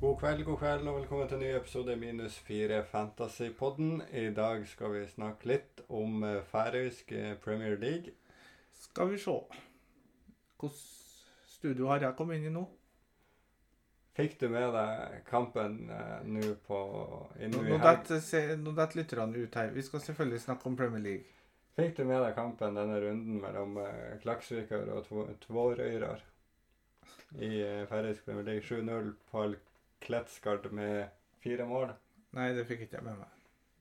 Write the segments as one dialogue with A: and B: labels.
A: God kveld, god kveld, og velkommen til en ny episode minus fire Fantasypodden. I dag skal vi snakke litt om eh, færøysk eh, Premier League.
B: Skal vi se. Hvilket studio har jeg kommet inn i nå?
A: Fikk du med deg kampen eh, nå på i-
B: Nå
A: nå i
B: nå
A: helg?
B: detter se- nå detter lytterne ut her. Vi skal selvfølgelig snakke om Premier League.
A: Fikk du med deg kampen denne runden mellom eh, Klaksvikar og Tvo- Tvårøyrar i eh, færøysk Premier League? 7-0 på Kletskard med fire mål.
B: Nei, det fikk ikke jeg med meg.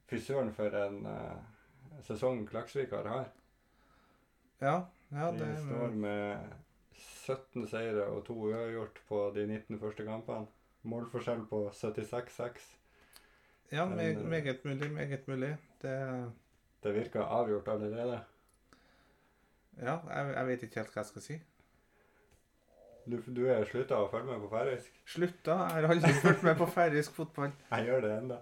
A: Fy søren for en eh, sesong Klaksvikar har.
B: Ja, ja det
A: de står med 17 seire og to uavgjort på de 19 første kampene. Målforskjell på 76-6.
B: Ja,
A: men,
B: meg,
A: eh,
B: meget mulig, meget mulig. Det
A: Det virker avgjort allerede.
B: Ja, jeg, jeg vet ikke helt hva jeg skal si.
A: Du, du er slutta å følge med på færøysk?
B: Slutta. Jeg har aldri fulgt med på færøysk fotball.
A: Jeg gjør det ennå.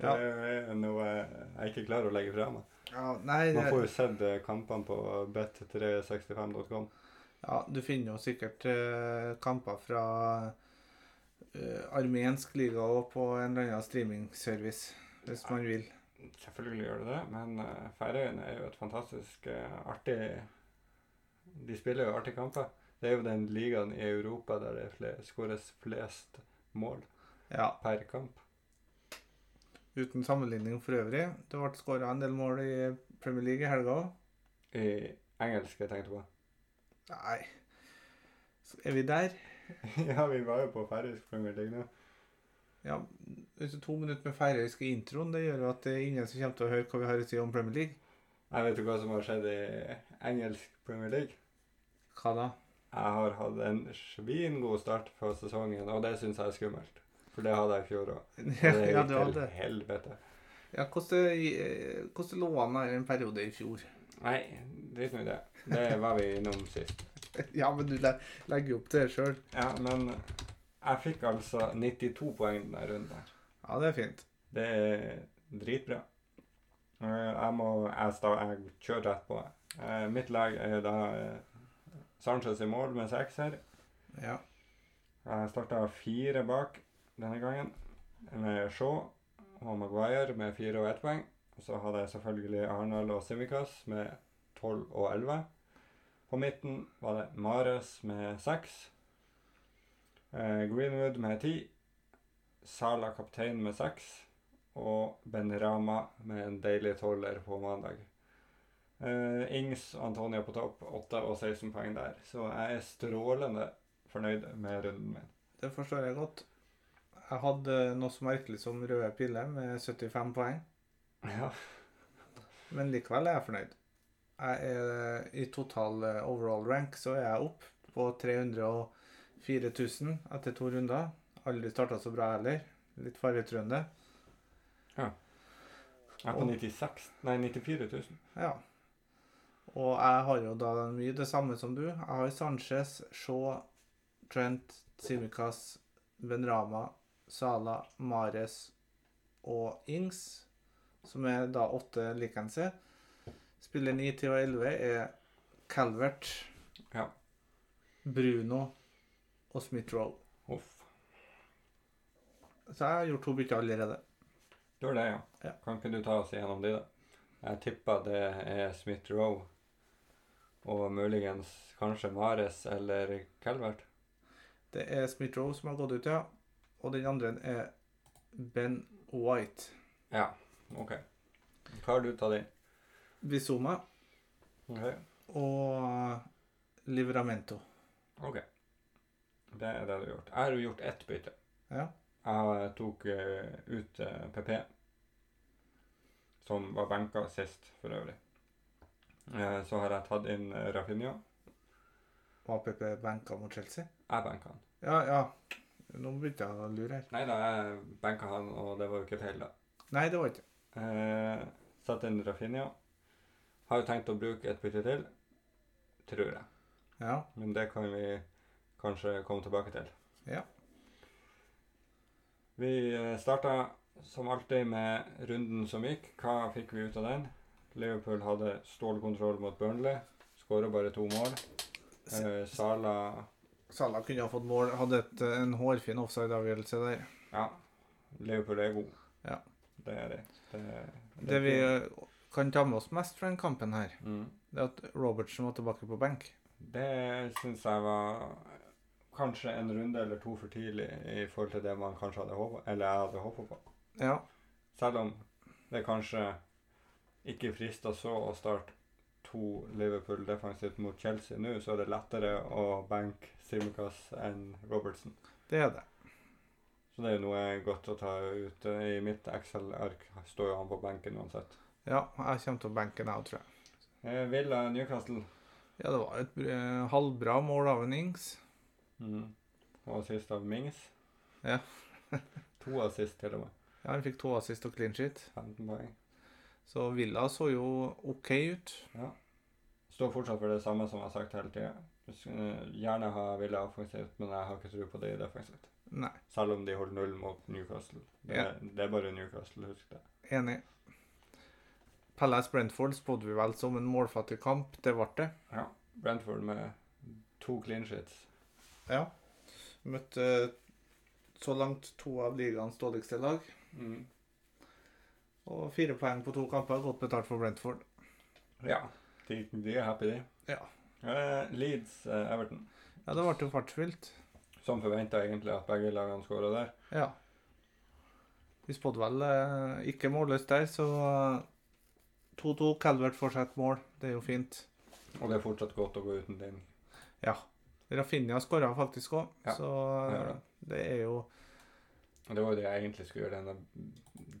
A: Det
B: Ja.
A: er jo noe jeg ikke klarer å legge fra meg.
B: Ja, nei,
A: Man får
B: det,
A: jo sett eh, kampene på bet365.com.
B: ja, du finner jo sikkert eh, kamper fra eh, armensk liga og på en eller annen streamingservice, hvis man vil.
A: Selvfølgelig gjør det det, men eh, Færøyene er jo et fantastisk eh, artig De spiller jo artige kamper. Det er jo den ligaen i Europa der det fle- skåres flest mål
B: Ja.
A: per kamp.
B: Uten sammenligning for øvrig. Det ble skåra en del mål i Premier League i helga òg.
A: I engelsk, jeg tenkte på.
B: Nei Så Er vi der?
A: ja, vi var jo på færøysk Premier League nå.
B: Ja. Ute to minutter med færøysk i introen. Det gjør jo at det er ingen som kommer til å høre hva vi har å si om Premier League.
A: Jeg vet jo hva som har skjedd i engelsk Premier League.
B: Hva da?
A: Jeg har hatt en svingod start på sesongen, og det syns jeg er skummelt. For det hadde jeg i fjor òg.
B: Ja, ja, du hadde.
A: helvete.
B: Ja, hvordan, eh, hvordan lå han der en periode i fjor?
A: Nei, drit nå i det. Det var vi innom sist.
B: Ja, men du le- legger jo opp til det sjøl.
A: Ja, men jeg fikk altså 92 poeng denne runden. her.
B: Ja, det er fint.
A: Det er dritbra. Eh, Jeg må jeg, sta, jeg kjører rett på. Eh, Mitt lag er da eh, Sanchez i mål med sekser.
B: Ja.
A: Jeg starta fire bak denne gangen, med Shaw og Maguire med fire og ett poeng. Så hadde jeg selvfølgelig Arnold og Simikaz med tolv og elleve. På midten var det Mares med seks. eh, Greenwood med ti. Sala kaptein med seks. Og Ben Rama med en deilig tolver på mandag. Eh, Ings og Antonia på topp, 8 og 16 poeng der. Så jeg er strålende fornøyd med runden min.
B: Det forstår jeg godt. Jeg hadde noe så merkelig som røde piller med 75 poeng.
A: Ja.
B: Men likevel er jeg fornøyd. Jeg er, I total eh, overall rank så er jeg opp på 304 000 etter to runder. Aldri starta så bra heller. Litt fargetrønde.
A: Jeg er på 96 Nei, 94 000.
B: Ja. Og jeg har jo da mye det samme som du. Jeg har Sanchez, Shaw, Trent, Simikaz, Benrama, Sala, Mares og Ings, som er da åtte likenser. Spiller 9, 10 og 11 er Calvert,
A: Ja.
B: Bruno og Smith-Roe.
A: Uff.
B: Så jeg har gjort to bytter allerede.
A: Du har det, ja.
B: Ja.
A: Kan ikke du ta oss igjennom de, da? Jeg tipper det er Smith Roe. Og muligens kanskje Mares eller Calvert.
B: Det er Smith-Roe som har gått ut, ja. Og den andre er Ben White.
A: Ja, OK. Hva har du tatt inn?
B: Bizuma
A: OK.
B: og Livramento.
A: Ok. Det er det du har gjort. Jeg har jo gjort ett bytte.
B: Ja.
A: Jeg tok eh, ut eh, PP, som var benka sist, for øvrig. Eh, så har jeg tatt inn uh, Rafinha.
B: Og APP benka mot Chelsea.
A: Jeg benka han.
B: Ja, ja. Nå begynte jeg å lure her.
A: Nei da, jeg benka han, og det var jo ikke feil, da.
B: Nei, det var ikke
A: Eh, satt inn Rafinha. Har jo tenkt å bruke et bytte til, tror jeg.
B: Ja.
A: Men det kan vi kanskje komme tilbake til.
B: Ja.
A: Vi starta som alltid med runden som gikk. Hva fikk vi ut av den? Liverpool hadde stålkontroll mot Burnley. Skåra bare to mål. Eh, Sala
B: Salah kunne ha fått mål. Hadde et, en hårfin offside-avgjørelse der.
A: Ja. Liverpool er god.
B: Ja.
A: Det er de. Det, er-
B: Det vi eh,
A: er
B: kan ta med oss mest fra den kampen her,
A: cool. mm.
B: det er at Robertsen var tilbake på benk.
A: Det syns jeg var kanskje en runde eller to for tidlig i forhold til det man kanskje hadde håpet, eller jeg hadde håpet på.
B: Ja,
A: Selv om det kanskje ikke frister så å starte to Liverpool defensivt mot Chelsea nå, så er det lettere å benke Simicas enn Robertson.
B: det er det.
A: Så det er jo noe godt å ta ut. I mitt Excel-ark står jo han på benken uansett.
B: Ja, jeg kommer til å benke den, jeg, tror jeg.
A: Eh, Villa Newcastle
B: Ja, det var et eh, halvbra mål av en Ings.
A: Mm. og sist av Mings.
B: Ja.
A: to av sist til og med.
B: Ja, han fikk to assist og clean shit.
A: 15 poeng.
B: Så Villa så jo OK ut.
A: Står fortsatt for det samme som jeg har sagt hele tida. Gjerne ha Villa offensivt, men jeg har ikke tro på det i defensivt.
B: Nei,
A: Selv om de holder null mot Newcastle. Det,
B: Ja.
A: det er bare Newcastle, husk det.
B: enig. Palace Brentford spådde vi vel som en målfattig kamp. Det ble det.
A: Brentford med to clean sheets.
B: Ja. Møtte eh, så langt to av ligaens dårligste lag.
A: Mm.
B: Og fire poeng på to kamper. Godt betalt for Brentford.
A: Ja. De, de er happy, de.
B: Ja.
A: Eh, Leeds eh, Everton.
B: Ja, det ble jo fartsfylt.
A: Som forventa egentlig at begge lagene skåra der.
B: Ja. Vi spådde vel eh, ikke målløst der, så eh, 2-2. Calvert får seg et mål. Det er jo fint.
A: Og det er fortsatt godt å gå uten den.
B: Ja. Rafinha skåra faktisk òg,
A: Ja,
B: så
A: gjør
B: eh, det er jo
A: Og det var jo det jeg egentlig skulle gjøre denne,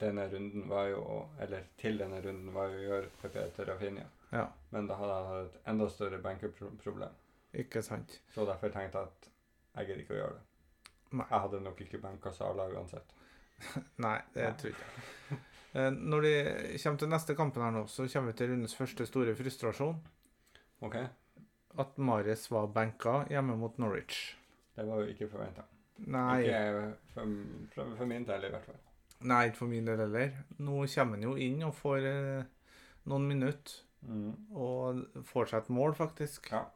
A: denne runden, var jo å Eller til denne runden var jo å gjøre PP til Rafinha.
B: Ja,
A: Men da hadde jeg hatt et enda større benkeproblem.
B: ikke sant.
A: Så derfor tenkte jeg at jeg gidder ikke å gjøre det.
B: Nei.
A: Jeg hadde nok ikke benka Sala uansett.
B: Nei, det
A: Nei.
B: tror jeg ikke. Eh, Når det kommer til neste kampen her nå, så kommer vi til rundens første store frustrasjon.
A: OK?
B: At Mares var benka hjemme mot Norwich.
A: Det var jo ikke forventa.
B: Nei,
A: Ikke for, for, for min del, i hvert fall.
B: nei, ikke for min del heller. Nå kommer han jo inn og får eh, noen minutter. Mm. Og får seg et mål, faktisk.
A: Ja.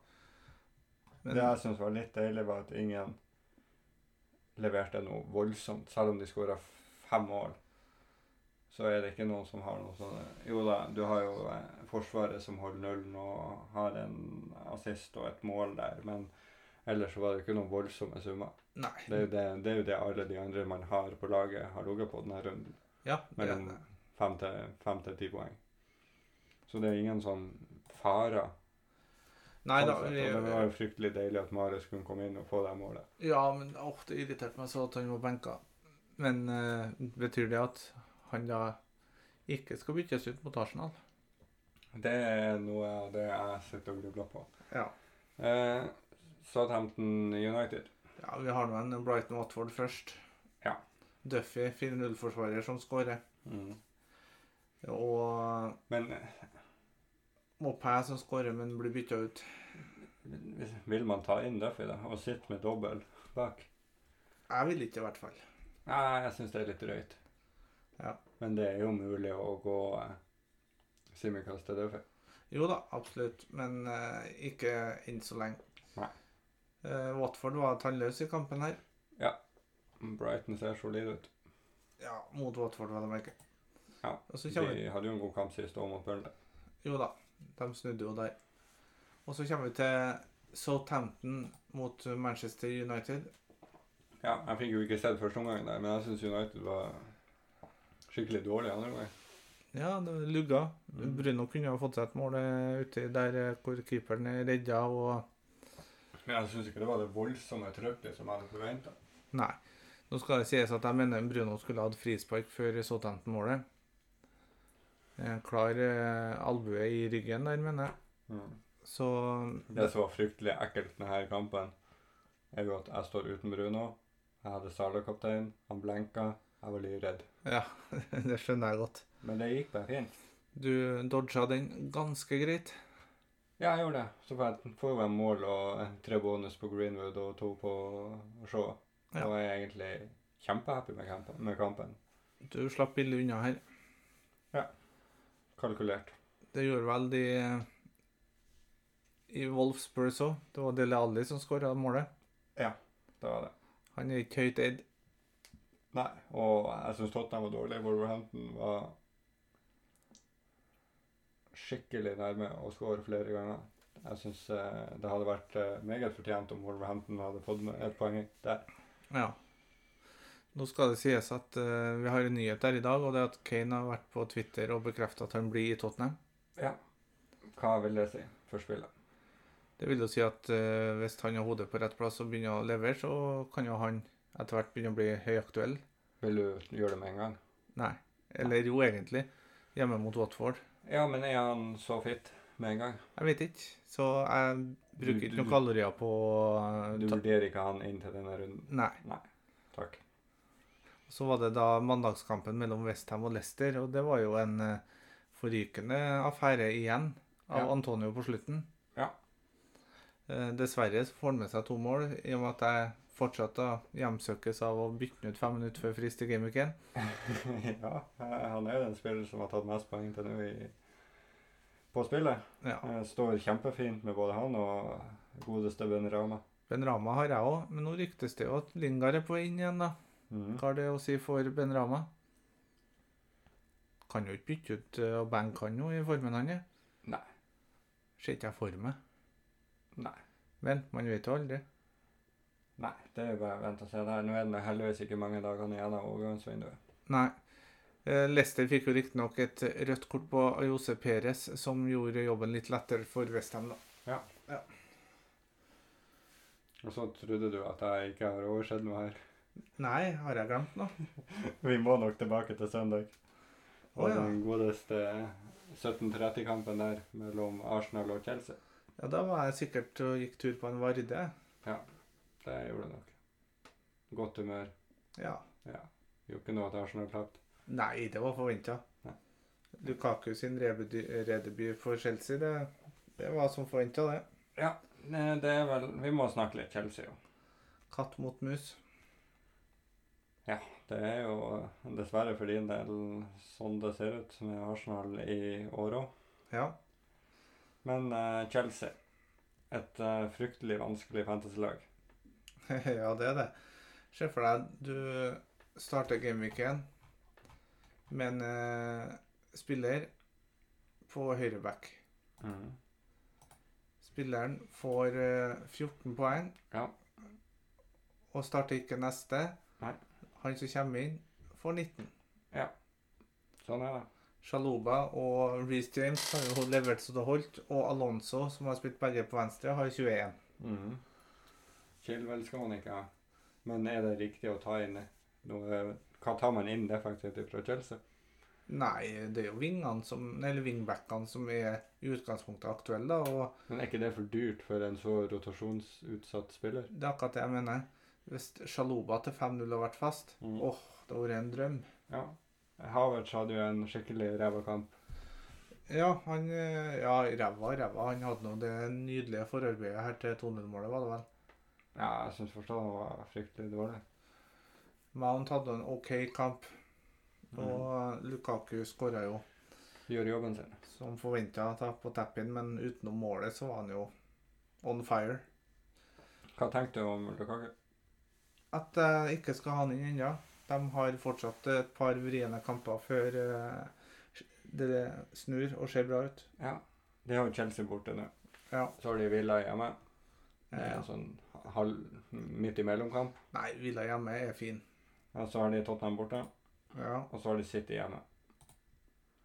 B: Men,
A: det jeg syns var litt deilig, var at ingen leverte noe voldsomt, selv om de skåra fem mål. Så er det ikke noen som har noe sånne Jo da, du har jo eh, Forsvaret som holder nullen og har en assist og et mål der, men ellers så var det ikke noen voldsomme summer.
B: nei.
A: Det er jo det, det, er jo det alle de andre man har på laget, har ligget på denne runden.
B: ja, det er
A: Mellom
B: det.
A: fem til- fem til ti poeng. Så det er ingen sånn farer.
B: Nei da.
A: sånn sett,
B: Vi,
A: og det var jo fryktelig deilig at Marius kunne komme inn og få det målet.
B: ja, men åh, det irriterte meg så at han var benka. Men eh, betyr det at han da ikke skal byttes ut mot Arsenal?
A: Det er noe av det jeg sitter og grubler på.
B: Ja.
A: Eh, Southampton United.
B: Ja, vi har nå en Brighton Watford først.
A: Ja.
B: Duffy, 4-0-forsvarer som skårer. Og
A: Mm. Men eh,
B: Mopé som skårer, men blir bytta ut.
A: eh, vil man ta inn Duffy da, og sitte med dobbel bak?
B: Jeg vil ikke, i hvert fall.
A: Nei, jeg syns det er litt drøyt.
B: Ja.
A: Men det er jo mulig å gå eh, Simikaz til Duffy.
B: Jo da, absolutt, men eh, ikke enn så lenge.
A: Nei.
B: Eh, Watford var tannløs i kampen her.
A: Brighton ser solid ut.
B: Ja, mot Watford, vel å merke.
A: Ja,
B: Og så
A: De
B: kommer
A: hadde jo en god kamp sist òg mot Burnley.
B: Jo da, de snudde jo der. Og så kommer vi til Southampton mot Manchester United.
A: Ja, jeg fikk jo ikke sett første omgang der, men jeg syns United var skikkelig dårlig andre omgang.
B: Ja, det lugga.
A: Mm.
B: Bruno kunne ha fått seg et mål eh, ute der eh, hvor keeperen er redda og
A: Men jeg syns ikke det var det voldsomme trøkket som jeg hadde forventa.
B: Nei. Nå skal det sies at jeg mener Bruno skulle hatt frispark før Southampton-målet. En Klar eh, albue i ryggen der, mener jeg. Så
A: Det som var fryktelig ekkelt med denne kampen, er jo at jeg står uten Bruno. Jeg hadde Sala-kaptein. Han blenka. Jeg var livredd.
B: Ja, det skjønner jeg godt.
A: Men det gikk bare fint.
B: Du dodga den ganske greit.
A: Ja, jeg gjorde det. Så får jeg får jo en mål og tre bonus på Greenwood og to på Shaw.
B: Ja.
A: Og jeg er egentlig kjempehappy med kampen. Med kampen.
B: Du slapp billig unna her.
A: Kalkulert.
B: Det gjorde vel de eh, i Wolfsburg òg. Det var Dele Alli som skåra målet.
A: Det var det.
B: Han er ikke høyt eid.
A: Nei, og jeg syns Tottenham var dårlig. Wolverhampton var skikkelig nærme å skåre flere ganger. Jeg syns eh, det hadde vært eh, meget fortjent om Wolverhampton hadde fått med et poeng der.
B: Ja. Nå skal det sies at eh, vi har en nyhet der i dag, og det er at Kane har vært på Twitter og bekreftet at han blir i Tottenham.
A: Hva vil det si for spillet?
B: Det vil jo si at eh, hvis han har hodet på rett plass og begynner å levere, så kan jo han etter hvert begynne å bli høyaktuell.
A: Vil du gjøre det med en gang?
B: Nei. Eller jo, egentlig. Hjemme mot Watford.
A: Ja, men er han så fit med en gang?
B: Jeg vet ikke. Så jeg
A: Du-
B: bruker ikke
A: du-
B: noen kalorier på eh,
A: Du
B: ta-
A: vurderer ikke han inn til denne runden?
B: Nei.
A: Takk.
B: Så var det da mandagskampen mellom Westham og Leicester, og det var jo en eh, forrykende affære igjen av
A: Ja.
B: Antonio på slutten.
A: Ja.
B: Eh, Dessverre så får han med seg to mål, i og med at jeg fortsatt da hjemsøkes av å bytte han ut fem minutter før frist i gameweeken.
A: ja, eh, han er jo den spilleren som har tatt mest poeng til nå i på spillet.
B: Ja.
A: Eh, Står kjempefint med både han og godeste Ben Rama.
B: Ben Rama har jeg òg, men nå ryktes det jo at Lingard er på vei inn igjen, da.
A: Mhm.
B: Hva har det å si for Ben Rama? Kan jo ikke bytte ut eh, og banke han nå i formen han er.
A: Nei.
B: Ser ikke jeg for meg.
A: Nei.
B: Men man vet jo aldri.
A: Nei, det er jo bare å vente og se der. Nå er det heldigvis ikke mange dagene igjen av overgangsvinduet.
B: Nei. Eh, Leicester fikk jo riktignok et rødt kort på Jose Perez, som gjorde jobben litt lettere for Westham, da.
A: Og så trodde du at jeg ikke har oversett noe her.
B: Nei, har jeg glemt noe?
A: Vi må nok tilbake til søndag. Og
B: Å, ja.
A: den godeste 17.30-kampen der mellom Arsenal og Chelsea.
B: Ja, da var jeg sikkert og gikk tur på en Varde.
A: Det gjorde nok. Godt humør.
B: Ja.
A: Ja. Gjorde ikke noe at Arsenal tapte.
B: Nei, det var forventa.
A: Nei.
B: Lukaku sin rebedy- redebut for Chelsea, det, det var som forventa, det.
A: Nei, det er vel Vi må snakke litt Chelsea, jo.
B: Katt mot mus.
A: Det er jo dessverre for din del sånn det ser ut med Arsenal i år òg.
B: Ja.
A: Men eh, Chelsea Et eh, fryktelig vanskelig fantasylag.
B: ja, det er det. Se for deg, du starter gameweeken med en eh, spiller på høyreback.
A: Mm.
B: Spilleren får eh, 14 poeng
A: Ja.
B: og starter ikke neste.
A: Nei.
B: Han som kommer inn, får 19.
A: Sånn er det.
B: Shaloba og Reece James har jo levert så det holdt, og Alonso, som har spilt begge på venstre, har 21.
A: Mm. Chilwell skal man ikke ha. Men er det riktig å ta inn noe Hva tar man inn defensivt fra Chelsea?
B: Nei, det er jo vingene som, eller wingbackene som er i utgangspunktet aktuelle, da, og
A: Men er ikke det for dyrt for en så rotasjonsutsatt spiller?
B: Det er akkurat det jeg mener. Hvis Sjaloba til 5-0 hadde vært fast,
A: Mm.
B: åh, det hadde vært en drøm.
A: Ja. Havertz hadde jo en skikkelig ræva kamp.
B: Ja, han eh, Ja, ræva, ræva. Han hadde nå det nydelige forarbeidet her til 2-0-målet, var det vel.
A: Ja, jeg syns fortsatt han var fryktelig dårlig.
B: Mount hadde en OK kamp, og
A: Mm.
B: Lukaku skåra jo
A: Gjør jobben sin.
B: som forventa på tap-in, men utenom målet så var han jo on fire.
A: Hva tenkte du om Lukaku?
B: At jeg ikke skal ha han inn ennå. De har fortsatt et par vriene kamper før eh, det snur og ser bra ut.
A: Ja. Det har jo Chelsea borte nå.
B: Ja.
A: Så har de Villa hjemme. Det er
B: Eh,
A: en sånn halv, midt imellom-kamp.
B: nei, Villa hjemme er fin.
A: Og så har de Tottenham borte,
B: Ja,
A: og så har de City hjemme.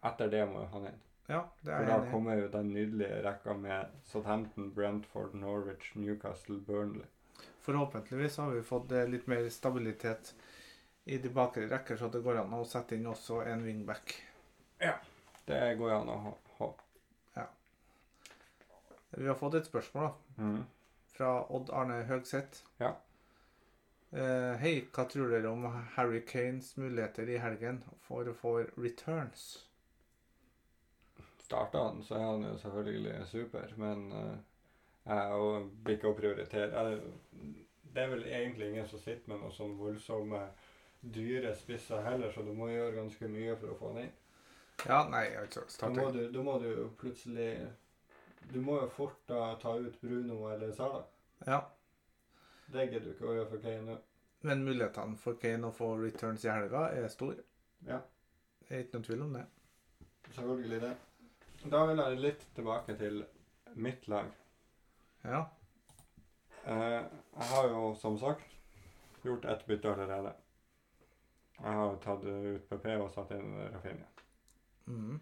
A: Etter det må han inn.
B: ja det er
A: For
B: jeg
A: da
B: enig i.
A: kommer jo den nydelige rekka med Southampton, Brentford, Norwich, Newcastle, Burnley.
B: Forhåpentligvis har vi fått eh, litt mer stabilitet i de bakre rekker, så det går an å sette inn også en wingback.
A: Det går jo an å ha. ha.
B: Vi har fått et spørsmål da,
A: Mhm.
B: fra Odd Arne Høgseth.
A: Ja.
B: Eh, Hei, hva tror dere om Harry Kanes muligheter i helgen for å få returns?
A: Starter han, så er han jo selvfølgelig super, men eh, jeg og- blir ikke å prioritere. Jeg- Det er vel egentlig ingen som sitter med noen sånn voldsomme dyre spisser heller, så du må gjøre ganske mye for å få han inn.
B: Ja, nei, altså,
A: Da må,
B: starter.
A: du, da må du jo plutselig Du må jo fort da ta ut Bruno eller Sala.
B: Ja,
A: Det gidder du ikke å gjøre for Kane nå.
B: Men mulighetene for Kane å få returns i helga er store.
A: Ja.
B: Det er ikke noen tvil om det.
A: Selvfølgelig det. Da vil jeg litt tilbake til mitt lag.
B: Ja.
A: Eh, jeg har jo som sagt gjort ett bytte allerede. Jeg har tatt ut PP og satt inn Rafinha.
B: Mhm.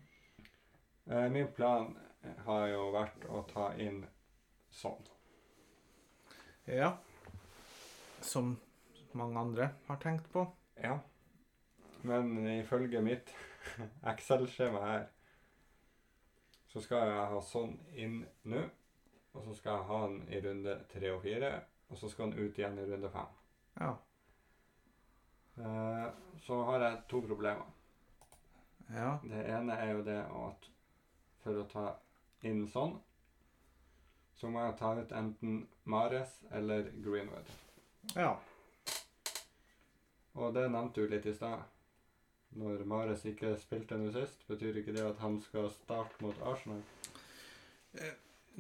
A: Eh, min plan har jo vært å ta inn sånn.
B: Ja. Som mange andre har tenkt på.
A: Ja. Men ifølge mitt Excel-skjema her, så skal jeg ha sånn inn nå. Og så skal jeg ha han i runde tre og fire, og så skal han ut igjen i runde fem.
B: Ja.
A: Eh, så har jeg to problemer.
B: Ja.
A: Det ene er jo det at for å ta inn sånn, så må jeg ta ut enten Mares eller Greenwood.
B: Ja.
A: Og det nevnte du litt i stad. Når Mares ikke spilte nå sist, betyr ikke det at han skal starte mot Arsenal?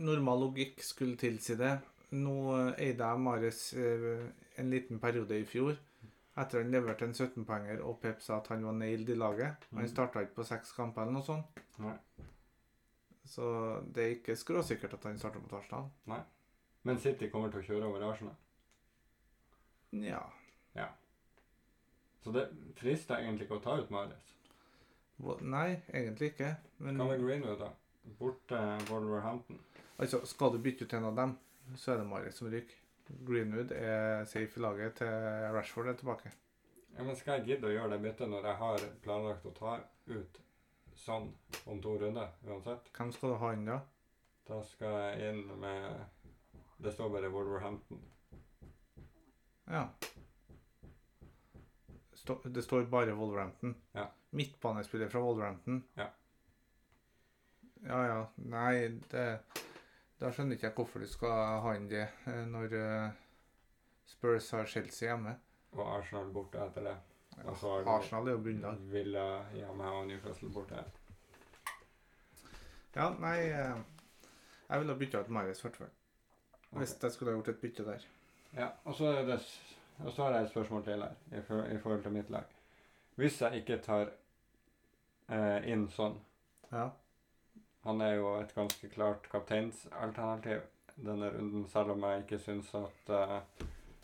B: Normal logikk skulle tilsi det. Nå eh, eide jeg Mares eh, en liten periode i fjor. Etter han leverte en 17-poenger og Pep sa at han var nailed i laget. Han
A: Mm.
B: starta ikke på seks kamper eller noe sånt.
A: Nei.
B: Så det er ikke skråsikkert at han starter mot Arsenal.
A: Men City kommer til å kjøre over Arsenal.
B: Nja
A: Så det frister egentlig ikke å ta ut Mares.
B: Hva- Nei, egentlig ikke. Men
A: Hva med Greenwood, da? Borte Wolverhampton.
B: altså, skal du bytte ut en av dem, så er det Mares som ryker. Greenwood er safe i laget til Rashford er tilbake.
A: Ja, men skal jeg gidde å gjøre det byttet når jeg har planlagt å ta ut sånn om to runder uansett?
B: Hvem skal du ha inn da?
A: Da skal jeg inn med Det står bare Wolverhampton.
B: Ja. Stå, det står bare Wolverhampton.
A: Ja.
B: Midtbanespiller fra Wolverhampton.
A: Ja.
B: Ja, ja. Nei, det Da skjønner ikke jeg hvorfor du skal ha inn det eh, når eh, Spurs har Chelsea hjemme.
A: Og Arsenal borte etter det. Og så har du
B: Arsenal er jo bunnlag.
A: Villa hjemme og Newcastle borte.
B: Ja, nei eh, Jeg ville ha bytta ut Marius, i hvert fall. Hvis
A: Ok.
B: jeg skulle ha gjort et bytte der.
A: Ja, og så, er det, s- og så har jeg et spørsmål til her i, for, i forhold til mitt lag. Hvis jeg ikke tar eh, inn sånn
B: Ja.
A: Han er jo et ganske klart kapteinsalternativ denne runden, selv om jeg ikke syns at eh,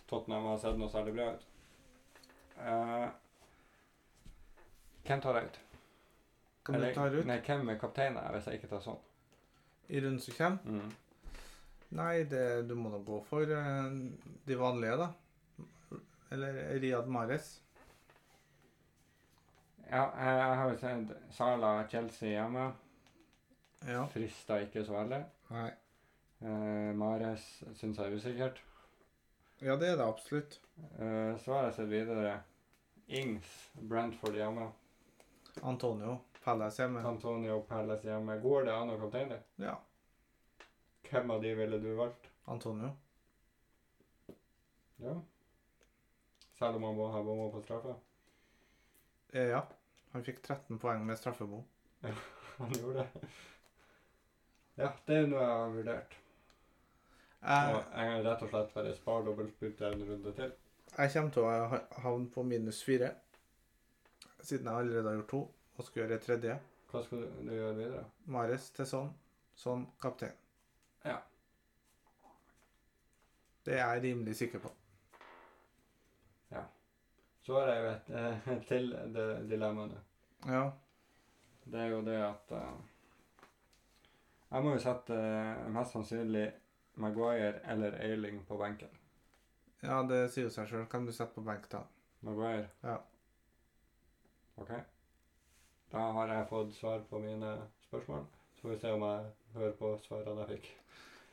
A: Tottenham har sett noe særlig bra ut. Eh, hvem tar jeg ut?
B: Kan du
A: Eller-
B: ta ut?
A: Nei, hvem er kapteinen her hvis jeg ikke tar sånn?
B: I runden som kommer?
A: Mm.
B: Nei, det, du må nå gå for eh, de vanlige, da. Eller Riyad Mahrez.
A: Ja, jeg jeg har jo sett Sala og Chelsea hjemme.
B: Ja.
A: Frister ikke så veldig.
B: Nei.
A: Eh, Mares syns jeg er usikkert.
B: Ja, det er det absolutt.
A: Eh, så har jeg sett videre Ings, Brentford hjemme.
B: Antonio Palace hjemme.
A: Antonio Palace hjemme. Går det an å kapteine det?
B: Ja,
A: Hvem av de ville du valgt?
B: Antonio.
A: Ja. Selv om han må ha bomma på straffa?
B: Eh, ja. Han fikk 13 poeng med straffebom.
A: Han gjorde det. Ja, det er noe jeg har vurdert.
B: Jeg,
A: Og jeg har rett og slett bare spar dobbeltbytte en runde til.
B: jeg kommer til å ha- havne på minus fire, siden jeg allerede har gjort to, og skal gjøre et tredje.
A: Hva skal du, du gjøre videre?
B: Mahrez til sånn, sånn kaptein.
A: Ja.
B: Det er jeg rimelig sikker på.
A: Så har jeg jo et eh, til det dilemmaet.
B: Ja.
A: Det er jo det at eh, Jeg må jo sette eh, mest sannsynlig Maguire eller Eiling på benken.
B: Ja, det sier jo seg sjøl. Kan du sette på benk, da?
A: Maguire?
B: Ja.
A: OK. Da har jeg fått svar på mine spørsmål. Så får vi se om jeg hører på svarene jeg fikk.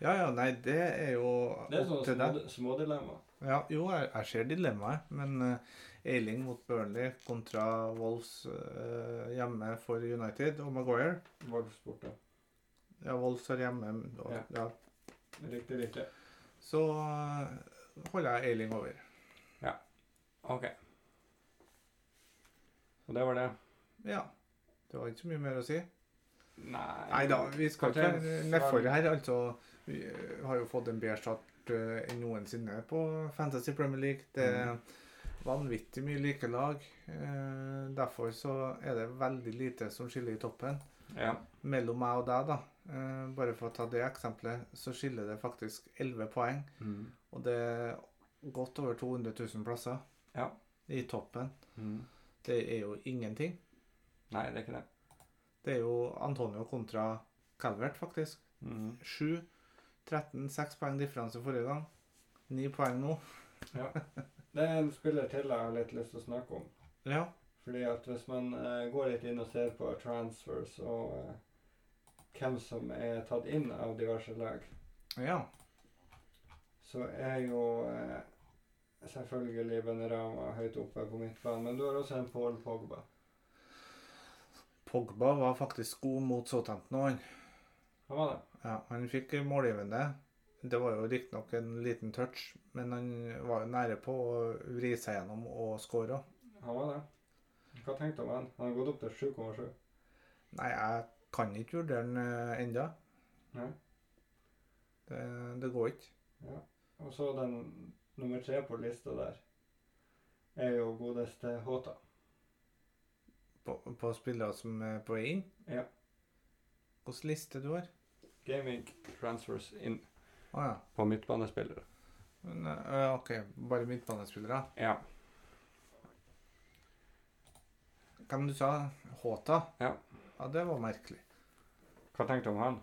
B: Ja, ja, nei, det er jo
A: Det er sånn
B: opp til
A: sånne
B: deg.
A: små, smådilemma.
B: Ja, jo, jeg, jeg ser dilemmaet, men eh, Eiling mot Burnley kontra Wolves eh, hjemme for United og Maguire.
A: Wolfs borte.
B: Ja, Wolves er hjemme. Og,
A: Ja.
B: ja.
A: Riktig, riktig.
B: Så eh, holder jeg Eiling over.
A: OK. Og det var det.
B: Ja. Det var ikke så mye mer å si.
A: Nei
B: Nei da, vi skal ikke
A: Kapteins
B: være
A: valg.
B: nedfor her. Altså, vi eh, har jo fått en bedre stat- eh, enn noensinne på Fantasy Premier League. Det er vanvittig mye like lag. Eh, derfor så er det veldig lite som skiller i toppen.
A: Ja.
B: Mellom meg og deg, da, eh, bare for å ta det eksempelet, så skiller det faktisk 11 poeng.
A: Mm.
B: Og det er godt over 200 000 plasser
A: Ja.
B: i toppen.
A: Mm.
B: Det er jo ingenting.
A: Nei, det er ikke det.
B: Det er jo Antonio kontra Calvert, faktisk.
A: Mm.
B: 7, 13, 6 poeng differanse forrige gang. 9 poeng nå.
A: Det er en spiller til jeg har litt lyst til å snakke om.
B: Ja.
A: Fordi at hvis man eh, går litt inn og ser på transfers og eh, hvem som er tatt inn av diverse lag,
B: ja.
A: så er jo eh, selvfølgelig Benarama høyt oppe på midtbanen. Men du har også en Paul Pogba.
B: Pogba var faktisk god mot Southampton òg.
A: Han var det.
B: Ja, han fikk målgivende. Det var jo riktignok en liten touch, men han var jo nære på å vri seg gjennom og skåre.
A: Han var det. Hva tenkte du om han? Han har gått opp til 7,7.
B: Nei, jeg kan ikke vurdere han eh, enda.
A: Nei.
B: Det, det går ikke.
A: Og så den nummer tre på lista der er jo godeste Håta.
B: På, på spillere som er på vei inn.
A: Ja.
B: Hvilken liste du har?
A: Gaming transfers inn
B: Å ja.
A: på midtbanespillere.
B: Men, eh, OK, bare midtbanespillere.
A: Ja.
B: Hvem du sa? Håta?
A: Ja.
B: ja. Det var merkelig.
A: Hva tenkte du om han?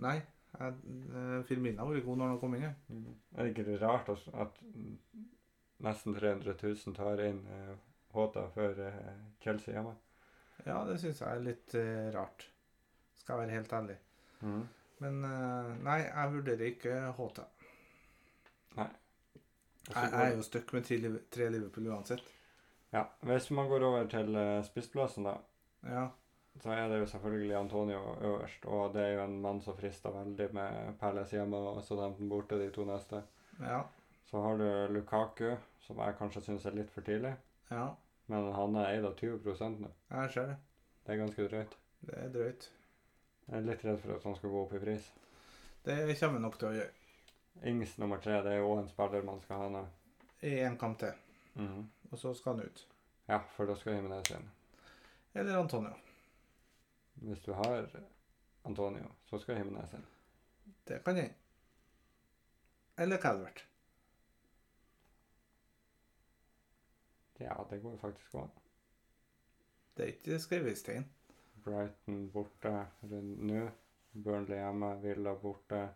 B: Nei, jeg, eh, Firmina var jo god når han kom inn. ja.
A: Er det ikke det rart at, at nesten 300 000 tar inn eh, Håta før eh, Chelsea hjemme?
B: Ja, det syns jeg er litt eh, rart. Skal jeg være helt ærlig. Men eh, nei, jeg vurderer ikke HT.
A: Og så
B: Jeg, jeg
A: går-
B: er jo stuck med tre, Liv- tre Liverpool uansett.
A: Ja, Hvis man går over til eh, spissplassen, da,
B: Ja,
A: så er det jo selvfølgelig Antonio øverst. Og det er jo en mann som frister veldig med Perles hjemme og Southampton borte de to neste.
B: ja,
A: Så har du Lukaku, som jeg kanskje syns er litt for tidlig.
B: ja.
A: Men han er eid av 20 nå.
B: Jeg ser det.
A: Det er ganske drøyt.
B: Det er drøyt.
A: Jeg er litt redd for at han skal gå opp i pris.
B: Det kommer jeg nok til å gjøre.
A: Ings nummer tre, det er jo òg en spiller man skal ha nå.
B: I én kamp til.
A: Mhm.
B: Og så skal han ut.
A: Ja, for da skal Jimenez inn.
B: Eller Antonio.
A: Hvis du har Antonio, så skal Jimenez inn.
B: Det kan hende. Eller Calvert.
A: Ja, det går jo faktisk an.
B: Det er ikke skrevet i stein.
A: Brighton borte rundt nå. Burnley hjemme, Villa borte.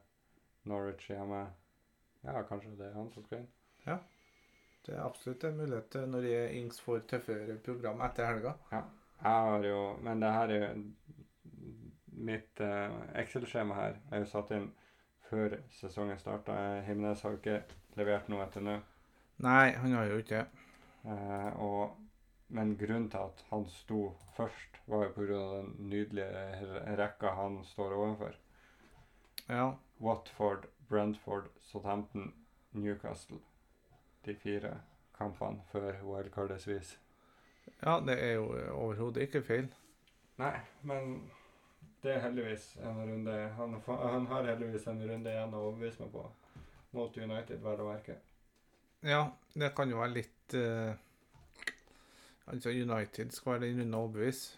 A: Norwich hjemme. Ja, kanskje det er han som skal inn.
B: Det er absolutt en mulighet til når E. Ings får tøffere program etter helga.
A: Jeg har jo Men det her er jo Mitt eh, Excel-skjema her er jo satt inn før sesongen starta. Jimenez har jo ikke levert noe etter nå.
B: Nei, han har jo ikke det.
A: Eh, og, men grunnen til at han sto først, var jo pga. den nydelige re- rekka han står overfor.
B: Ja.
A: Watford, Brentford, Southampton, Newcastle. De fire kampene før wildcardets vis.
B: Ja, det er jo overhodet ikke feil.
A: Nei, men det er heldigvis en runde Han, fa- han har heldigvis en runde igjen å overbevise meg på. Mot United, vel å merke.
B: Ja, det kan jo være litt eh, Altså, United skal være den runde å overbevise.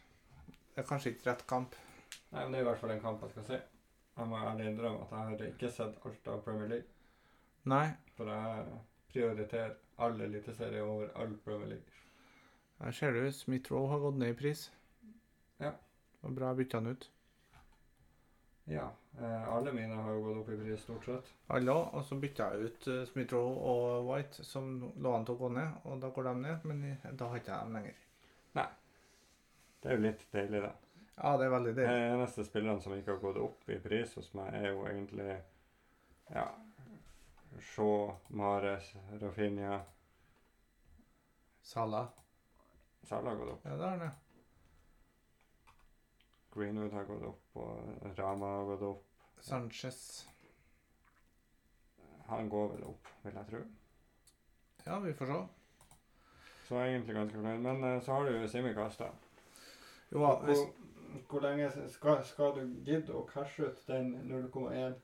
B: Det er kanskje ikke rett kamp.
A: Nei, men det er i hvert fall en kamp jeg skal se. Jeg må ærlig innrømme at jeg har ikke sett alt av Premier League.
B: Nei,
A: For jeg prioriterer all eliteserie over all Premier League.
B: her ser du Smith Roe har gått ned i pris.
A: Ja.
B: Det var bra jeg bytta han ut.
A: Ja. Eh, alle mine har jo gått opp i pris, stort sett.
B: Alle òg. Og så bytta jeg ut eh, Smith Roe og White, som lå an til å gå ned. Og da går de ned, men i- da har ikke jeg dem lenger.
A: Det er jo litt deilig, da.
B: Ja, det er veldig
A: De
B: deilig.
A: eneste spillerne som ikke har gått opp i pris hos meg, er jo egentlig ja, Shaw, Mares, Rafinha
B: Salah.
A: Salah har gått opp.
B: Ja, det har han, ja.
A: Greenwood har gått opp, og Rama har gått opp.
B: Sanchez.
A: Han går vel opp, vil jeg tro.
B: Ja, vi får se.
A: Så jeg er egentlig ganske fornøyd. Men eh, så har du jo Simi Kasta.
B: Jo, ja, hvis,
A: Hvor, hvor lenge skal, skal du gidde å cashe ut den 0,1?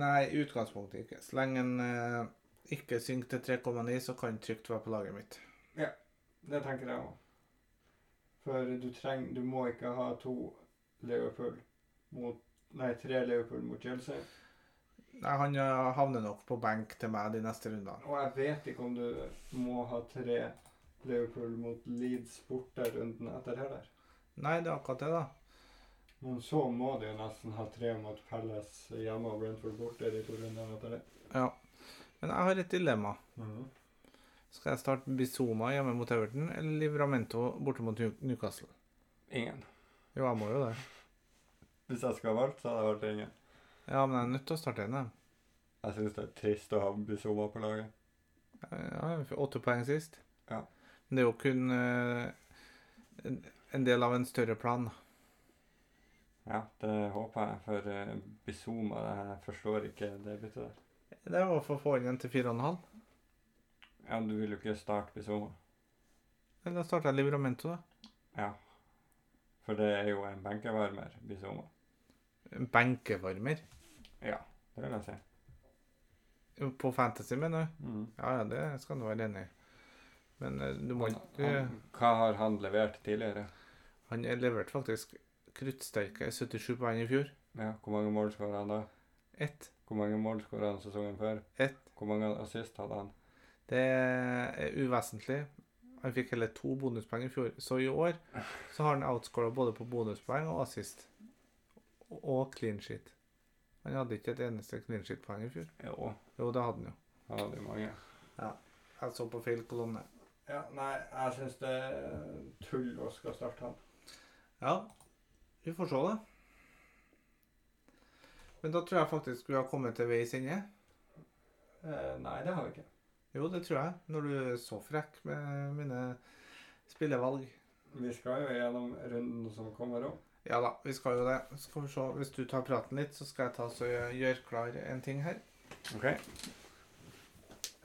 B: Nei, i utgangspunktet ikke. Så lenge en eh, ikke synker til 3,9, så kan den trygt være på laget mitt.
A: Det tenker jeg òg. For du trenger Du må ikke ha to Liverpool mot Nei, tre Liverpool mot Chelsea.
B: Nei, han eh, havner nok på benk til meg de neste rundene.
A: Og jeg vet ikke om du må ha tre Liverpool mot Leeds borte runden etter heller.
B: Nei, det er akkurat det, da.
A: Men så må du jo nesten ha tre mot Palace hjemme og Brentford borte de to rundene etter det.
B: Men jeg har et dilemma.
A: Mhm.
B: Skal jeg starte Bizoma hjemme mot Everton eller Livramento borte mot New- Newcastle?
A: Ingen.
B: Jo, jeg må jo det.
A: Hvis jeg skulle ha valgt, så hadde det vært ingen.
B: Ja, men jeg er nødt til å starte en, jeg.
A: Jeg syns det er trist å ha Bizoma på laget.
B: Ja, jeg fikk åtte poeng sist.
A: Ja.
B: Men det er jo kun eh, en- en del av en større plan.
A: Ja, det håper jeg, for eh, Bizuma jeg forstår ikke det byttet der.
B: Det er jo for å få inn en til 4,5.
A: Ja, du vil jo ikke starte Bizoma.
B: Eller da starter jeg Livramento, da.
A: Ja. For det er jo en benkevarmer, Bizoma.
B: En Benkevarmer.
A: Ja, det vil jeg si.
B: På Fantasy, mener du?
A: Mm.
B: Ja, ja, det skal du være enig i. Men eh, du må
A: Han,
B: ikke
A: han, hva har han levert tidligere?
B: Han leverte faktisk kruttsterke 77 poeng i fjor.
A: Ja, Hvor mange mål skåra han da?
B: Ett.
A: Hvor mange mål skåra han sesongen før?
B: Ett.
A: Hvor mange assist hadde han?
B: Det er uvesentlig. Han fikk hele to bonuspoeng i fjor. Så i år så har han outscora både på bonuspoeng og assist. Og clean sheet. Han hadde ikke et eneste clean sheet-poeng i fjor.
A: Jo,
B: Jo, det hadde han jo.
A: han hadde jo mange.
B: Jeg så på feil kolonne.
A: Ja, nei, jeg syns det er tull å skal starte han.
B: Ja, vi får se, da. Men da tror jeg faktisk vi har kommet til veis ende.
A: Eh, nei, det har vi ikke.
B: Jo, det tror jeg. Når du er så frekk med mine spillevalg.
A: Vi skal jo gjennom runden som kommer òg.
B: Ja da, vi skal jo det. Så skal vi se. Hvis du tar praten litt, så skal jeg ta så gjøre klar en ting her.
A: OK.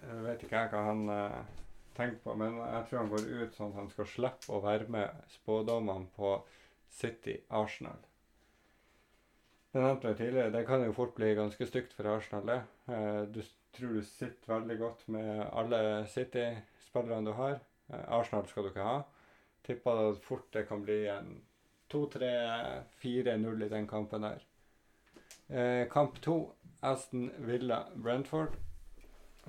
A: Jeg vet ikke jeg hva han eh, tenker på, men jeg tror han går ut sånn at han skal slippe å være med spådommene på City Arsenal. Jeg nevnte det tidligere, det kan jo fort bli ganske stygt for Arsenal, det. Eh, Du s- tror du sitter veldig godt med alle City-spillerne du har. Eh, Arsenal skal du ikke ha. Tipper det fort det kan bli en 2-3-4-0 i den kampen der. Eh, Kamp to Aston Villa Brentford.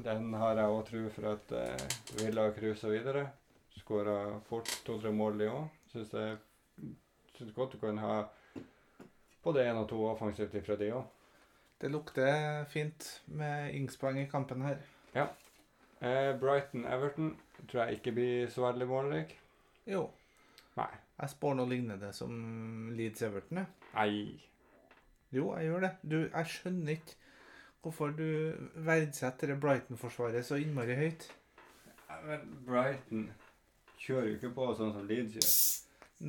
A: Den har jeg òg tro for at eh, Villa cruiser videre. Skåra fort to-tre mål, de òg. Syns det synes godt du kan ha både én og to offensivt ifra de òg.
B: Det lukter fint med Ingspoeng i kampen her.
A: Eh, Brighton-Everton tror jeg ikke blir så veldig målrik.
B: Jo,
A: Nei.
B: jeg spår noe lignende som Leeds Everton. jeg.
A: Nei.
B: Jo, jeg gjør det. Du, jeg skjønner ikke hvorfor du verdsetter det Brighton-forsvaret så innmari høyt.
A: Men Brighton kjører jo ikke på sånn som Leeds gjør.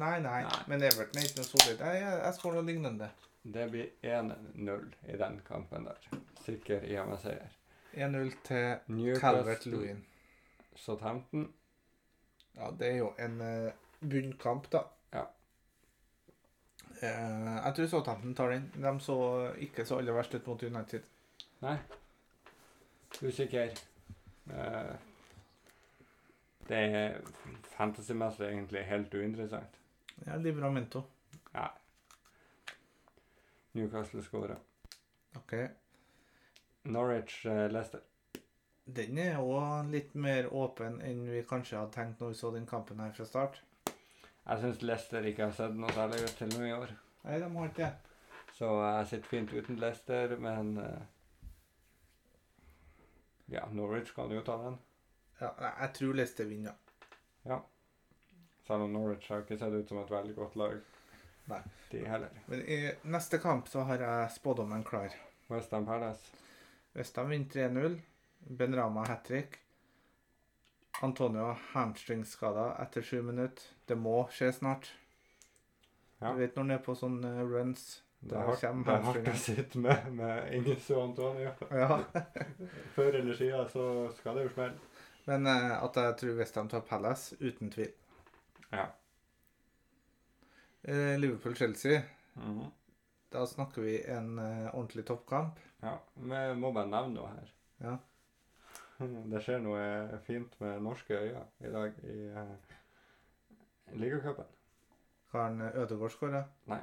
B: Nei, nei,
A: Nei.
B: men Everton er ikke noe solid. Jeg, jeg, jeg spår noe lignende.
A: Det blir 1-0 i den kampen der. Sikker hjemmeseier.
B: 1-0 til Calvert
A: Newcastle
B: Lewin.
A: Southampton
B: Ja, det er jo en eh, bunnkamp, da.
A: Ja.
B: Eh, jeg tror Southampton tar den. De så ikke så aller verst ut mot United.
A: Usikker. Eh, det er fantasymessig egentlig helt uinteressant.
B: Ja, Livramento.
A: Newcastle skårer.
B: OK.
A: Norwich eh, Leicester.
B: Den er òg litt mer åpen enn vi kanskje hadde tenkt når vi så den kampen her fra start.
A: Jeg syns Leicester ikke har sett noe særlig ut til nå i år.
B: Nei, de har ikke det.
A: Så jeg sitter fint uten Leicester, men eh, Ja, Norwich kan jo ta den.
B: Ja, nei, jeg tror Leicester vinner.
A: Selv om Norwich har ikke sett ut som et veldig godt lag.
B: Nei.
A: De heller.
B: Men i neste kamp så har jeg spådommen klar.
A: Westham Palace.
B: Hvis de vinner 3-0, Ben Rama hat trick, Antonio hamstringskada etter sju minutter. Det må skje snart.
A: Ja.
B: Du vet når han er på sånne runs.
A: Det
B: Da
A: er hardt,
B: kommer
A: det er hardt å
B: hamstringen.
A: sitte med, med Inges og Antonio.
B: Ja.
A: Før eller siden så skal det jo smelle.
B: Men eh, at jeg tror Westham tar Palace, uten tvil.
A: Ja.
B: Eh, Liverpool-Chelsea Da snakker vi en eh, ordentlig toppkamp.
A: Ja, Vi må bare nevne noe her.
B: Ja.
A: Det skjer noe fint med norske øyne i dag i uh, ligacupen.
B: Karen eh, Ødegaard skårer.
A: Nei.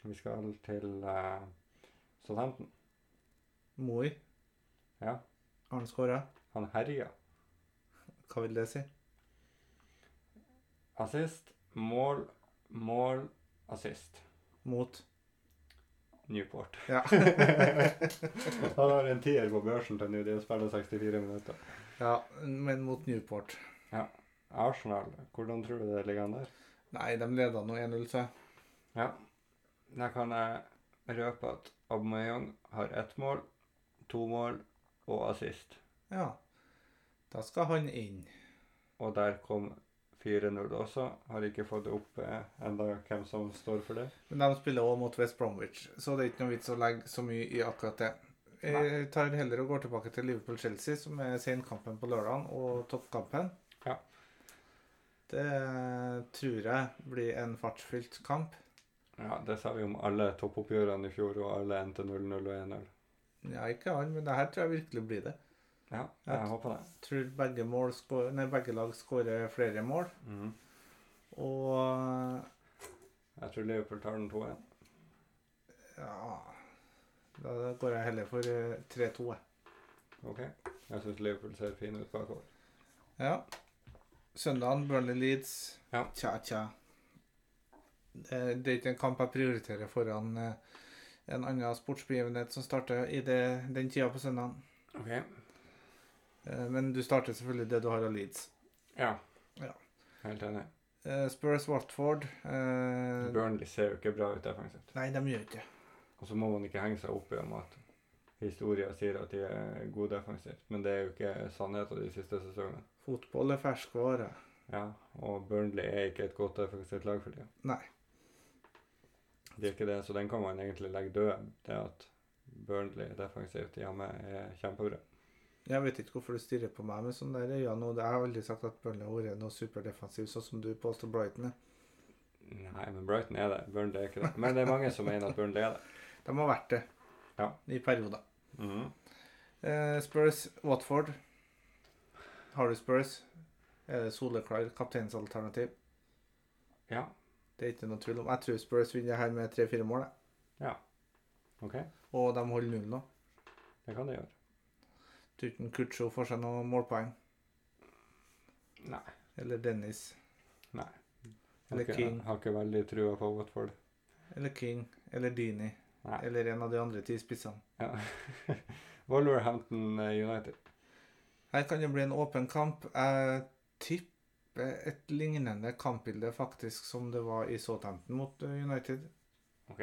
A: Vi skal til uh, Southampton.
B: Moi.
A: Ja.
B: Har han skåra?
A: Han herja.
B: Hva vil det si?
A: Assist, mål, mål, assist.
B: Mot.
A: Newport.
B: Ja.
A: Han har en tier på børsen til nå. De spiller 64 minutter.
B: ja, men mot Newport.
A: Arsenal, hvordan tror du det ligger an der?
B: Nei, de leda nå 1-0, så jeg.
A: Der kan jeg røpe at Aubameyang har ett mål, to mål og assist.
B: Ja. Da skal han inn.
A: Og der kom 4-0 også. Har ikke fått opp eh, enda hvem som står for det.
B: Men de spiller òg mot West Bromwich, så det er ikke noe vits å legge så mye i akkurat det. Jeg tar heller og går tilbake til Liverpool-Chelsea, som er senkampen på lørdagen, og toppkampen.
A: Ja.
B: Det tror jeg blir en fartsfylt kamp.
A: Ja, det sa vi om alle toppoppgjørene i fjor, og alle endte 0-0 og 1-0.
B: Ja, ikke han, men det her tror jeg virkelig blir det.
A: Ja,
B: Ja.
A: jeg håper det.
B: Tror begge, mål skår, nei, begge lag skårer flere mål.
A: Mhm.
B: Og
A: Jeg tror Liverpool tar den 2-1.
B: ja Da går jeg heller for eh, 3-2. jeg.
A: Ok. Jeg syns Liverpool ser fin ut bakover.
B: Ja. Søndagen, Burnley Leeds.
A: Ja.
B: Tja, tja. Det, det er ikke en kamp jeg prioriterer foran eh, en annen sportsbegivenhet som starter i det, den tida på søndagen.
A: Ok.
B: Eh, Men du starter selvfølgelig det du har av Leeds.
A: Ja.
B: Ja.
A: Helt enig.
B: Eh, Spurs Watford eh,
A: Burnley ser jo ikke bra ut defensivt.
B: Nei, de gjør ikke det.
A: Og så må man ikke henge seg opp i om at historien sier at de er gode defensivt, men det er jo ikke sannheten de siste sesongene.
B: Fotball er ferskvare.
A: Ja, og Burnley er ikke et godt defensivt lag for tida.
B: Nei.
A: Det er ikke det, så den kan man egentlig legge død. Det at Burnley defensivt hjemme er kjempebra.
B: Jeg vet ikke hvorfor du stirrer på meg med sånn der øyne nå. Jeg har aldri sagt at Burnley har vært noe superdefensiv, sånn som du påstår Brighton er.
A: Nei, men Brighton er det. Burnley er ikke det. Men det er mange som mener at Burnley er det.
B: De har vært det
A: Ja.
B: i perioder. Eh, Spurs Watford. Har du Spurs? Er det soleklar kapteinsalternativ?
A: Ja,
B: Det er ikke noe tvil om. Jeg tror Spurs vinner her med tre-fire mål. jeg.
A: OK.
B: Og de holder null nå.
A: Det kan de gjøre.
B: Tror ikke Kutcho får seg noe målpoeng.
A: Nei.
B: Eller Dennis.
A: Jeg har
B: Eller
A: ikke,
B: King.
A: har ikke veldig trua på Watford.
B: Eller King. Eller Dini.
A: Nei.
B: Eller en av de andre ti spissene.
A: Ja. Wolverhampton eh, United.
B: Her kan det bli en åpen kamp. Jeg tipper et lignende kampbilde faktisk som det var i Southampton mot eh, United.
A: OK.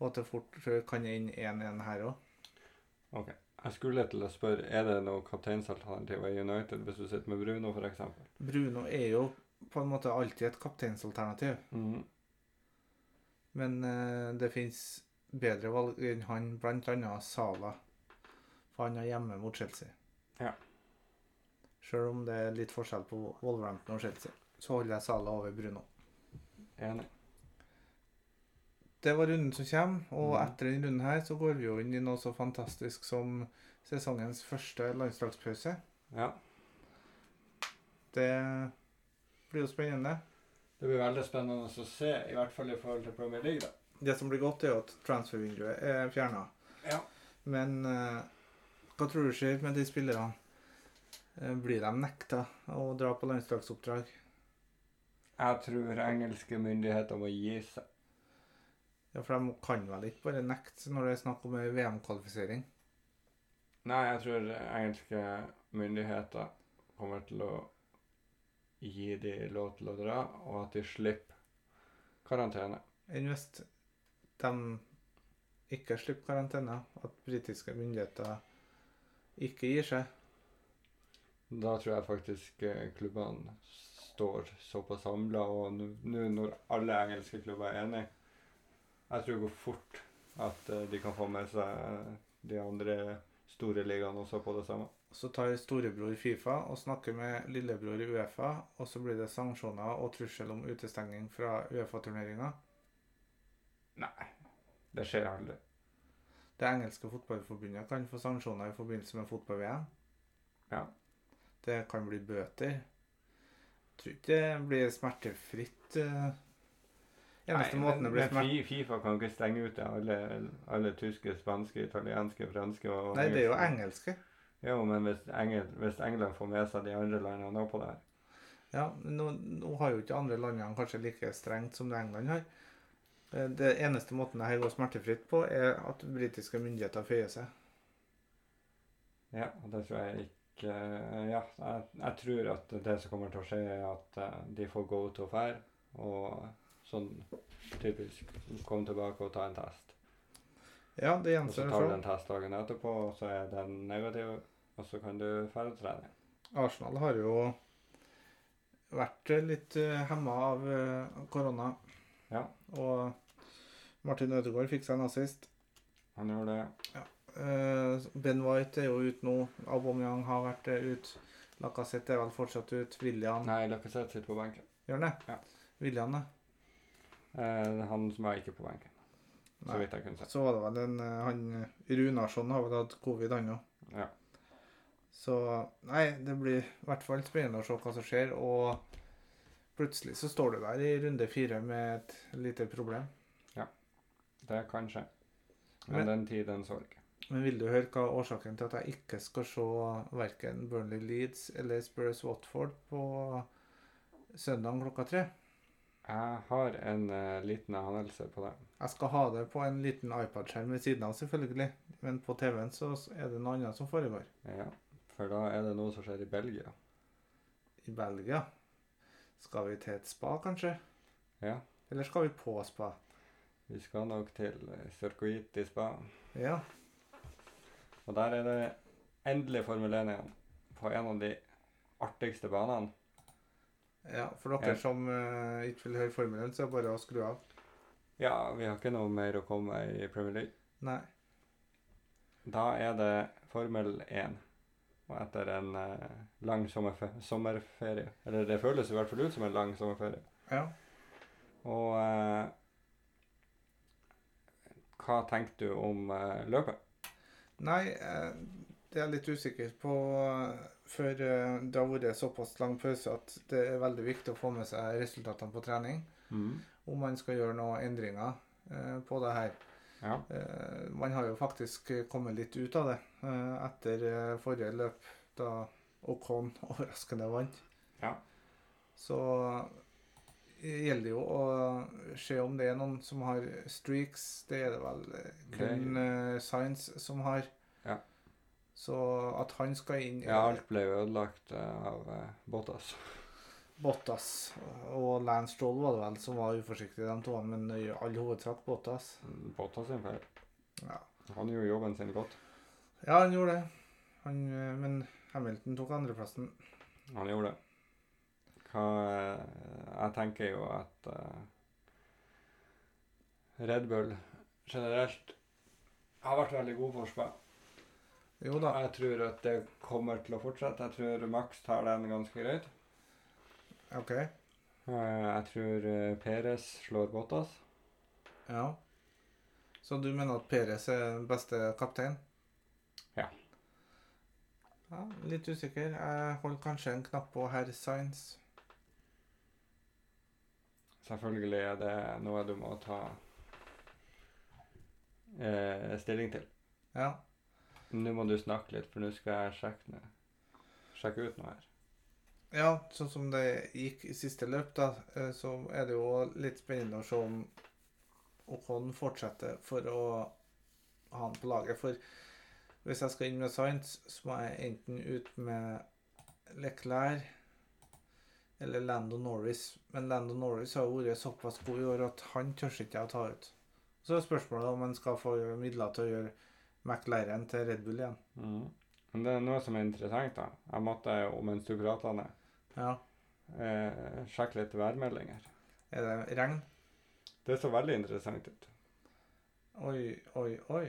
B: Og at det fort eh, kan inn 1-1 her òg.
A: Jeg skulle til å spørre, er det noen kapteinsalternativer i United hvis du sitter med Bruno, f.eks.?
B: Bruno er jo på en måte alltid et kapteinsalternativ,
A: Mm.
B: men eh, det fins bedre valg enn han, bl.a. Sala, for han er hjemme mot Chelsea.
A: Ja.
B: Sjøl om det er litt forskjell på Wolverhampton og Chelsea, så holder jeg Sala over Bruno.
A: Enig.
B: Det var runden som kommer, og
A: Mhm.
B: etter den runden her så går vi jo inn i noe så fantastisk som sesongens første landslagspause.
A: Ja.
B: Det blir jo spennende.
A: Det blir veldig spennende å se, i hvert fall i forhold til Premier League, da.
B: Det som blir godt, er jo at transfervinduet er fjerna.
A: Ja.
B: Men eh, hva tror du skjer med de spillerne? Eh, Blir de nekta å dra på landslagsoppdrag?
A: Jeg tror engelske myndigheter må gi seg.
B: Ja, For de kan vel ikke bare nekte når det er snakk om ei VM-kvalifisering?
A: Nei, jeg tror engelske myndigheter kommer til å gi de lov til å dra, og at de slipper karantene.
B: Enn hvis de ikke slipper karantene, at britiske myndigheter ikke gir seg?
A: Da tror jeg faktisk eh, klubbene står såpass samla, og nå nå når alle engelske klubber er enige Jeg tror det går fort at eh, de kan få med seg eh, de andre store ligaene også på det samme.
B: Så tar storebror Fifa og snakker med lillebror i Uefa, og så blir det sanksjoner og trussel om utestenging fra Uefa-turneringa.
A: Det skjer aldri.
B: Det engelske fotballforbundet kan få sanksjoner i forbindelse med fotball-VM.
A: Ja.
B: Det kan bli bøter. Jeg tror ikke det blir smertefritt. eh. Eneste
A: Nei,
B: måten
A: men-
B: det blir
A: men
B: smerte...
A: Fi- Fifa kan ikke stenge ute alle, alle tyske, spanske, italienske, franske og
B: Nei, det er jo
A: engelske.
B: engelske.
A: Jo, men hvis, Engel, hvis England får med seg de andre landene nå på det her
B: Ja, men nå, nå har jo ikke andre landene kanskje like strengt som det England har. Eh, Det eneste måten det her går smertefritt på, er at britiske myndigheter føyer seg.
A: Ja, og det tror jeg ikke eh, Ja, jeg, jeg tror at det som kommer til å skje, er at eh, de får go to fær, og sånn typisk komme tilbake og ta en test.
B: Ja, det sånn.
A: Og så
B: gjenstår å
A: tar du
B: se.
A: en test dagen etterpå, og så er den negativ, og så kan du ferde trene.
B: Arsenal har jo vært litt eh, hemma av eh, korona.
A: Ja.
B: Og Martin Ødegaard fikk seg en assist.
A: Han gjorde det.
B: Eh, Ben White er jo ute nå. Aubameyang har vært ute. Lacassette er vel fortsatt ute. William
A: Nei, Lacassette sitter på benken.
B: gjør han det?
A: Ja.
B: William, da?
A: Eh, han som er ikke på benken, så
B: Nei.
A: vidt jeg kunne se.
B: Så var det vel en eh, han Runarsson har vel hatt covid, han òg.
A: Ja.
B: Så nei, det blir i hvert fall spennende å se hva som skjer. Og plutselig så står du der i runde fire med et lite problem.
A: Det kan skje. Men
B: Men-
A: den tid, den sorg.
B: Men vil du høre hva er årsaken til at jeg ikke skal se verken Burnley Leeds eller Spurs Watford på søndag klokka tre?
A: Jeg har en eh, liten anelse på det.
B: Jeg skal ha det på en liten iPad-skjerm ved siden av, selvfølgelig. Men på TV-en så er det noe annet som foregår.
A: Ja, for da er det noe som skjer i Belgia.
B: I Belgia skal vi til et spa, kanskje?
A: Ja.
B: Eller skal vi på spa?
A: Vi skal nok til eh, Circuit i Spa.
B: Ja.
A: Og der er det endelig Formel 1 igjen. På en av de artigste banene.
B: ja for dere
A: Ja.
B: som eh, ikke vil høre formelen, så er det bare å skru av.
A: Ja, vi har ikke noe mer å komme med i Premier League.
B: Nei.
A: Da er det Formel 1. Og etter en eh, lang sommerfe sommerferie Eller det føles i hvert fall ut som en lang sommerferie.
B: Ja.
A: Og eh, hva tenkte du om eh, løpet?
B: Nei, eh, det er jeg litt usikker på. eh, For eh, det har vært såpass lang pause at det er veldig viktig å få med seg resultatene på trening. Om man skal gjøre noen endringer eh, på det her.
A: Ja.
B: Eh, Man har jo faktisk eh, kommet litt ut av det eh, etter eh, forrige løp, da Ocon overraskende vant.
A: Ja.
B: Så det gjelder jo å se om det er noen som har streaks. Det er det vel eh, kun eh, Science som har.
A: Ja.
B: Så at han skal inn
A: ja, alt ble jo ødelagt eh, av eh, Bottas.
B: Bottas og Lance Stroll var det vel som var uforsiktige, de to, men i all hovedsak Bottas.
A: Bottas sin feil.
B: Ja.
A: Han gjorde jobben sin godt.
B: Ja, han gjorde det. Han, eh, men Hamilton tok andreplassen.
A: Han gjorde det. Hva, eh, jeg tenker jo at eh, Red Bull generelt har vært veldig god for spa.
B: Jo da.
A: Jeg tror at det kommer til å fortsette. Jeg tror Max tar den ganske greit.
B: OK.
A: Eh, Jeg tror eh, Perez slår Bottas.
B: Ja. Så du mener at Perez er den beste kaptein?
A: Ja.
B: ja. Litt usikker. Jeg holder kanskje en knapp på herr Sainz.
A: Selvfølgelig er det noe du må ta eh, stilling til.
B: Ja.
A: Nå må du snakke litt, for nå skal jeg sjekke, ned. sjekke ut noe her.
B: Ja, sånn som det gikk i siste løp, da, eh, så er det jo litt spennende å se om Ocon fortsetter for å ha han på laget. For hvis jeg skal inn med Sainz, så må jeg enten ut med Leclerc eller Lando Norris. Men Lando Norris har jo vært såpass god i år at han tør ikke å ta ut. Så er spørsmålet om han skal få midler til å gjøre McLaren til Red Bull igjen.
A: Mm. Men det er noe som er interessant, da. Jeg måtte jo, mens du prata det,
B: Ja,
A: eh, sjekke litt værmeldinger.
B: Er det regn?
A: Det så veldig interessant ut.
B: Oi, oi, oi.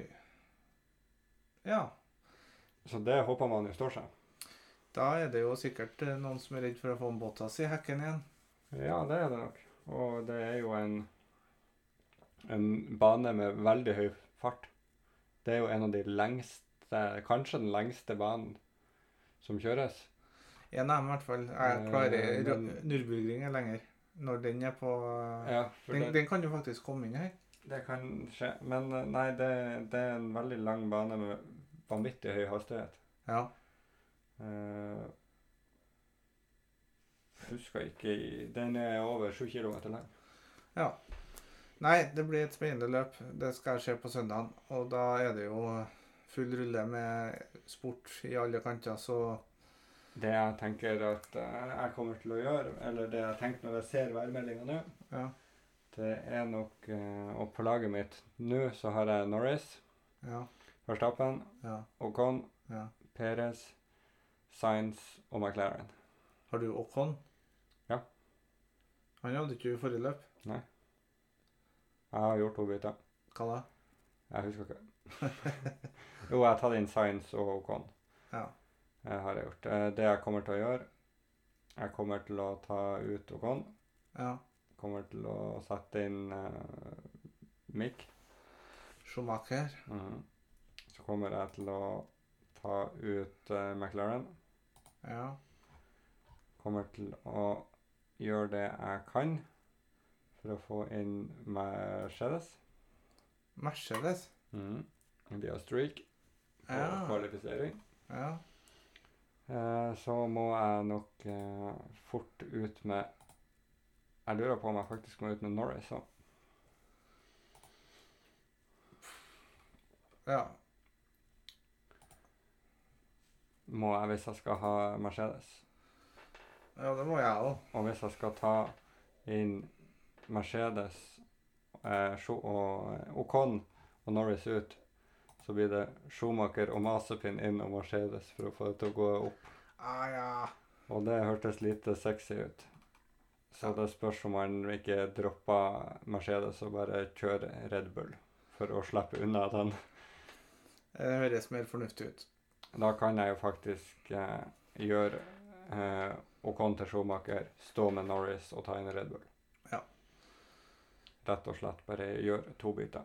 B: Ja.
A: Så det håper man jo står seg.
B: Da er det jo sikkert eh, noen som er redd for å få en Bottas i hekken igjen.
A: Ja, det er det nok. Og det er jo en en bane med veldig høy fart. Det er jo en av de lengste, kanskje den lengste banen som kjøres.
B: En av dem, i hvert fall. Jeg
A: Eh,
B: klarer
A: men-
B: Ru- Nürburgring er lenger. Når den er på eh,
A: Ja, for
B: den,
A: det,
B: den kan jo faktisk komme inn her.
A: det kan skje. Men eh, nei, det, det er en veldig lang bane med vanvittig høy hastighet.
B: Ja.
A: Eh, Jeg husker ikke i- Den er over 7 km lang.
B: Nei, det blir et spennende løp. Det skal skje på søndagen. Og da er det jo full rulle med sport i alle kanter, så
A: Det jeg tenker at eh, jeg kommer til å gjøre, eller det jeg tenker når jeg ser værmeldinga nå,
B: ja.
A: det er nok eh, Og på laget mitt nå så har jeg Norris,
B: Ja.
A: Verstappen,
B: ja,
A: Ocon,
B: ja.
A: Perez, Sainz og McLaren.
B: Har du Ocon?
A: Ja.
B: Han hadde ikke du i forrige løp.
A: Jeg har gjort to bytter.
B: Hva da?
A: Jeg husker ikke. jo, jeg har tatt inn Sainz og Ocon.
B: Ja.
A: Det har jeg gjort. Eh, Det jeg kommer til å gjøre Jeg kommer til å ta ut Ocon.
B: Ja.
A: Kommer til å sette inn eh, Mick.
B: Schumacher.
A: Mhm. Så kommer jeg til å ta ut eh, McLaren.
B: Ja.
A: Kommer til å gjøre det jeg kan for å få inn Mercedes.
B: Mercedes.
A: Mm. De har streak på
B: Ja.
A: kvalifisering.
B: ja.
A: Eh, så må jeg nok eh, fort ut med Jeg lurer på om jeg faktisk må ut med Norris òg.
B: Ja.
A: Må jeg hvis jeg skal ha Mercedes.
B: Ja, det må jeg òg.
A: Og hvis jeg skal ta inn Mercedes eh, Schu- og Ocon og Norris ut, så blir det Schumacher og Masepin inn og Mercedes for å få det til å gå opp.
B: Ah, ja.
A: Og det hørtes lite sexy ut. Så det spørs om man ikke dropper Mercedes og bare kjører Red Bull for å slippe unna den.
B: Det høres mer fornuftig ut.
A: Da kan jeg jo faktisk eh, gjøre eh, Ocon til Schumacher, stå med Norris og ta inn Red Bull.
B: Ja.
A: Rett og slett bare gjøre to bytter.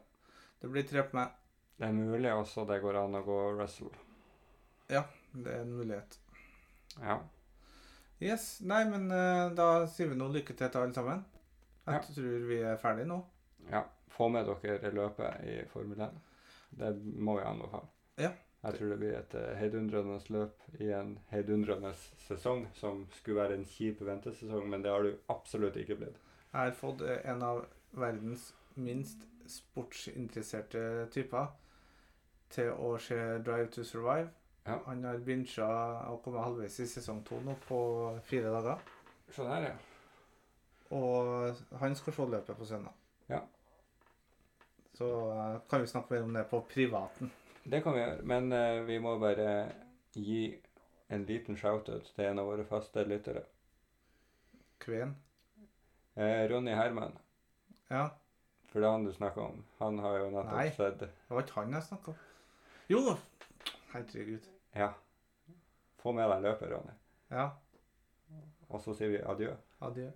B: Det blir tre på meg.
A: Det er mulig også det går an å gå Russell.
B: Det er en mulighet.
A: Ja.
B: Yes. Nei, men eh, da sier vi nå lykke til til alle sammen. Jeg
A: Ja.
B: tror vi er ferdige nå.
A: ja. Få med dere løpet i Formel 1. Det må jeg anbefale.
B: Ja.
A: Jeg tror det blir et eh, heidundrende løp i en heidundrende sesong, som skulle være en kjip ventesesong, men det har du absolutt ikke blitt.
B: Jeg har fått eh, en av verdens minst sportsinteresserte typer til å se Drive to Survive.
A: Ja.
B: Han har bincha og kommet halvveis i sesong to nå på fire dager.
A: Sånn her, ja.
B: Og han skal se løpet på søndag.
A: Ja.
B: Så eh, kan vi snakke mer om det på privaten.
A: Det kan vi gjøre, men eh, vi må bare gi en liten shout-out til en av våre faste lyttere.
B: Kveen.
A: Eh, Ronny Herman,
B: Ja.
A: for det er han du snakker om. Han har jo
B: Nei.
A: nettopp sett
B: Det var ikke han jeg snakka om. Jo! Herregud.
A: Ja. Få med deg løpet, Ronny.
B: Ja.
A: Og så sier vi adjø.
B: Adjø.